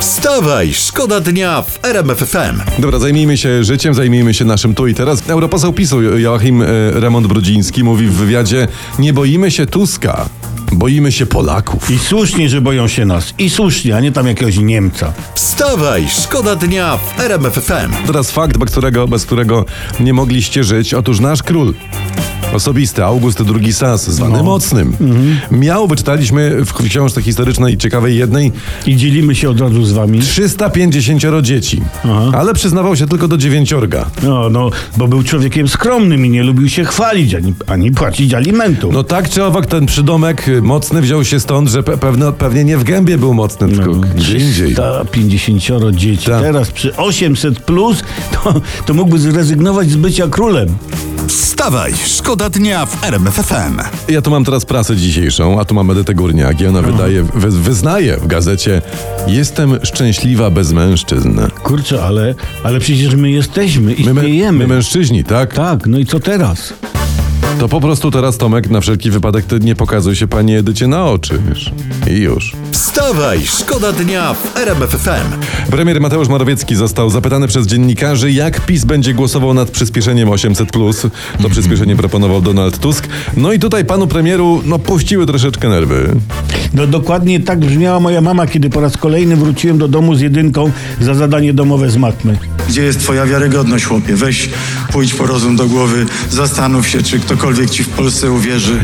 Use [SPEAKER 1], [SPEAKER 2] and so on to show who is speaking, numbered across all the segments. [SPEAKER 1] Wstawaj, szkoda dnia w RMFFM.
[SPEAKER 2] Dobra, zajmijmy się życiem, zajmijmy się naszym tu i teraz. Europoseł PiSu Joachim e, Remont Brudziński mówi w wywiadzie Nie boimy się Tuska, boimy się Polaków.
[SPEAKER 3] I słusznie, że boją się nas. I słusznie, a nie tam jakiegoś Niemca.
[SPEAKER 1] Wstawaj, szkoda dnia w RMFFM.
[SPEAKER 2] Teraz fakt, bez którego, bez którego nie mogliście żyć. Otóż nasz król osobisty, August II Sas, zwany Mocnym, miał, wyczytaliśmy w książce historycznej ciekawej jednej,
[SPEAKER 3] I dzielimy się od razu z wami.
[SPEAKER 2] 350 dzieci. Ale przyznawał się tylko do dziewięciorga.
[SPEAKER 3] No, no, bo był człowiekiem skromnym i nie lubił się chwalić, ani, ani płacić alimentów.
[SPEAKER 2] No tak czy owak ten przydomek y, mocny wziął się stąd, że pe- pewno, pewnie nie w gębie był mocny, tylko No, gdzie indziej.
[SPEAKER 3] 350 dzieci.
[SPEAKER 2] Tak.
[SPEAKER 3] Teraz przy 800 plus, to, to mógłby zrezygnować z bycia królem.
[SPEAKER 1] Wstawaj, szkoda dnia w RMFFM.
[SPEAKER 2] Ja tu mam teraz prasę dzisiejszą, a tu mam Edytę Górniak i ona wydaje, wy, wyznaje w gazecie Jestem szczęśliwa bez mężczyzn.
[SPEAKER 3] Kurczę, ale, ale przecież my jesteśmy,
[SPEAKER 2] My, mę-
[SPEAKER 3] istniejemy.
[SPEAKER 2] my mężczyźni, tak?
[SPEAKER 3] tak, no i co teraz?
[SPEAKER 2] To po prostu teraz Tomek na wszelki wypadek ty nie pokazuj się pani Edycie na oczy, wiesz. I już.
[SPEAKER 1] Wstawaj, szkoda dnia w RMFFM.
[SPEAKER 2] Premier Mateusz Morawiecki został zapytany przez dziennikarzy, jak PiS będzie głosował nad przyspieszeniem 800+. To przyspieszenie proponował Donald Tusk. No i tutaj panu premieru, no puściły troszeczkę nerwy.
[SPEAKER 3] No dokładnie tak brzmiała moja mama, kiedy po raz kolejny wróciłem do domu z jedynką za zadanie domowe z matmy.
[SPEAKER 4] Gdzie jest twoja wiarygodność, chłopie? Weź, pójdź po rozum do głowy, zastanów się, czy ktokolwiek ci w Polsce uwierzy.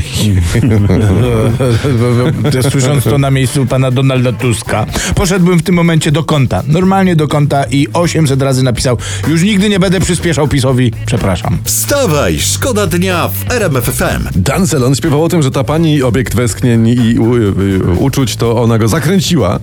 [SPEAKER 5] Też Słysząc to na miejscu pana Donalda Tuska, poszedłbym w tym momencie do konta. Normalnie do konta i 800 razy napisał: Już nigdy nie będę przyspieszał PiSowi, przepraszam.
[SPEAKER 1] Wstawaj, szkoda dnia w RMFFM.
[SPEAKER 2] Dancel, on śpiewał o tym, że ta pani obiekt westchnień i u, y, uczuć, to ona go zakręciła.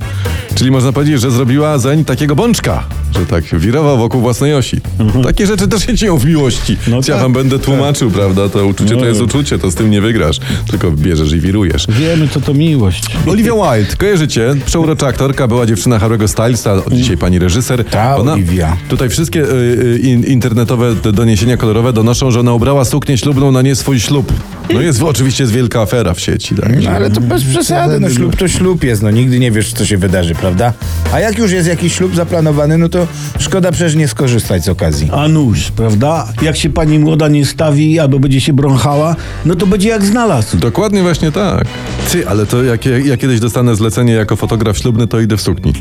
[SPEAKER 2] Czyli można powiedzieć, że zrobiła zeń takiego bączka, że tak wirował wokół własnej osi. Takie rzeczy też się dzieją w miłości.
[SPEAKER 3] No
[SPEAKER 2] ja
[SPEAKER 3] tak,
[SPEAKER 2] wam będę tłumaczył, prawda? To uczucie to jest uczucie, to z tym nie wygrasz, tylko bierzesz i wirujesz.
[SPEAKER 3] Wiemy, co to miłość.
[SPEAKER 2] Olivia Wilde, kojarzycie? Przeurocza aktorka, była dziewczyna Harry'ego Stylesa, od dzisiaj pani reżyser.
[SPEAKER 5] Ta Olivia.
[SPEAKER 2] Tutaj wszystkie y, y, in- internetowe d- doniesienia kolorowe donoszą, że ona ubrała suknię ślubną na nie swój ślub. No jest oczywiście jest wielka afera w sieci, tak?
[SPEAKER 5] No ale to bez przesady, no ślub to ślub jest, no nigdy nie wiesz, co się wydarzy, prawda? A jak już jest jakiś ślub zaplanowany, no to szkoda przecież nie skorzystać z okazji.
[SPEAKER 3] A nóż, prawda? Jak się pani młoda nie stawi albo będzie się brąchała, no to będzie jak znalazł.
[SPEAKER 2] Dokładnie właśnie tak. Ty, ale to jak ja, ja kiedyś dostanę zlecenie jako fotograf ślubny, to idę w sukni.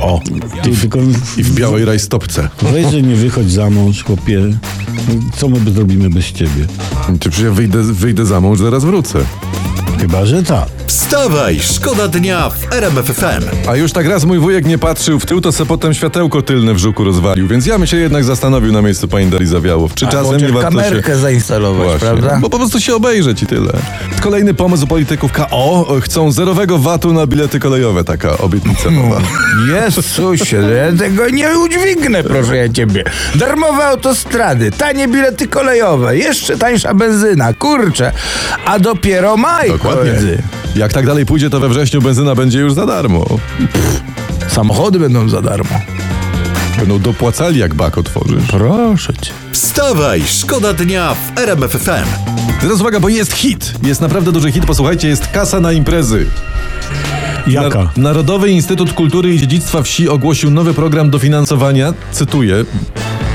[SPEAKER 5] O,
[SPEAKER 3] Ty tylko
[SPEAKER 2] I w białej rajstopce.
[SPEAKER 3] weź, że nie wychodź za mąż, chłopie. Co my by zrobimy bez ciebie?
[SPEAKER 2] Czy przecież ja wyjdę, wyjdę za mąż, zaraz wrócę.
[SPEAKER 3] Chyba, że tak.
[SPEAKER 1] Wstawaj, szkoda dnia w RMFFM.
[SPEAKER 2] A już tak raz mój wujek nie patrzył w tył, to se potem światełko tylne w żuku rozwalił, więc ja bym się jednak zastanowił na miejscu pani Darii Zawiałow, czy czasem nie
[SPEAKER 5] może
[SPEAKER 2] warto
[SPEAKER 5] kamerkę
[SPEAKER 2] się...
[SPEAKER 5] zainstalować,
[SPEAKER 2] Właśnie,
[SPEAKER 5] prawda?
[SPEAKER 2] Bo po prostu się obejrzeć i tyle. Kolejny pomysł polityków KO. Chcą zerowego VAT-u na bilety kolejowe, taka obietnica nowa.
[SPEAKER 5] Jezusie, no ja tego nie udźwignę, proszę ja ciebie. Darmowe autostrady, tanie bilety kolejowe, jeszcze tańsza benzyna, kurczę. A dopiero maj,
[SPEAKER 2] Dokładnie.
[SPEAKER 5] koledzy.
[SPEAKER 2] Jak tak dalej pójdzie, to we wrześniu benzyna będzie już za darmo.
[SPEAKER 5] Samochody będą za darmo.
[SPEAKER 2] Będą dopłacali, jak bak otworzysz.
[SPEAKER 5] Proszę cię.
[SPEAKER 1] Wstawaj, szkoda dnia w RMFFM.
[SPEAKER 2] Teraz uwaga, bo jest hit. Jest naprawdę duży hit. Posłuchajcie, jest kasa na imprezy.
[SPEAKER 3] Jaka?
[SPEAKER 2] Na- Narodowy Instytut Kultury i Dziedzictwa Wsi ogłosił nowy program dofinansowania, cytuję,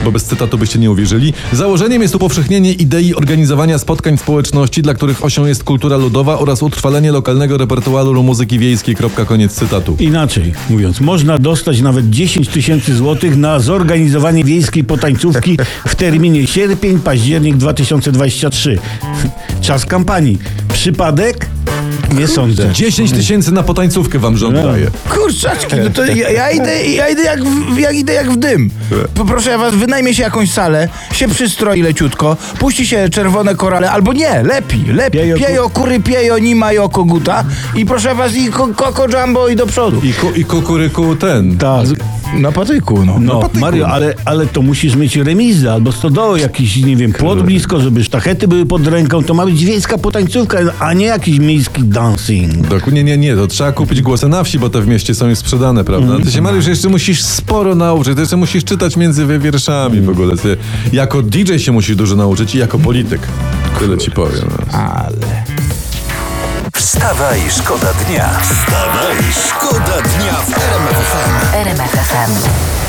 [SPEAKER 2] bo bez cytatu byście nie uwierzyli. Założeniem jest upowszechnienie idei organizowania spotkań społeczności, dla których osią jest kultura ludowa oraz utrwalenie lokalnego repertuaru muzyki wiejskiej. Kropka, koniec cytatu.
[SPEAKER 3] Inaczej mówiąc, można dostać nawet 10 tysięcy złotych na zorganizowanie wiejskiej potańcówki w terminie sierpień, październik 2023. Czas kampanii. Przypadek? Nie sądzę.
[SPEAKER 2] 10 tysięcy na potańcówkę wam rząd
[SPEAKER 3] No.
[SPEAKER 2] daje.
[SPEAKER 5] Kurczaczki, no to ja, ja, idę, ja, idę jak w, ja idę jak w dym. Poproszę ja was, wynajmie się jakąś salę, się przystroi leciutko, puści się czerwone korale, albo nie, lepi, lepi,
[SPEAKER 3] Piejo,
[SPEAKER 5] piejo,
[SPEAKER 3] ku-
[SPEAKER 5] kury, piejo, nima, jo, koguta i proszę was, i ko, koko jumbo i do przodu.
[SPEAKER 2] I, ku, I kukuryku ten.
[SPEAKER 3] Tak.
[SPEAKER 5] Na patyku, no.
[SPEAKER 3] No, Mario, ale, ale to musisz mieć remizę albo stodołę, jakiś, nie wiem, płot blisko, żeby sztachety były pod ręką. To ma być wiejska potańcówka, a nie jakiś miejski dancing.
[SPEAKER 2] Dokładnie, nie, nie, to trzeba kupić głosy na wsi, bo te w mieście są już sprzedane, prawda? Ty się, Mariusz, jeszcze musisz sporo nauczyć, ty jeszcze musisz czytać między wierszami w ogóle. Ty jako DJ się musisz dużo nauczyć i jako polityk. Tyle ci powiem. No.
[SPEAKER 1] Wstawaj, szkoda dnia. Wstawaj, szkoda dnia w RMFFM.
[SPEAKER 6] FM.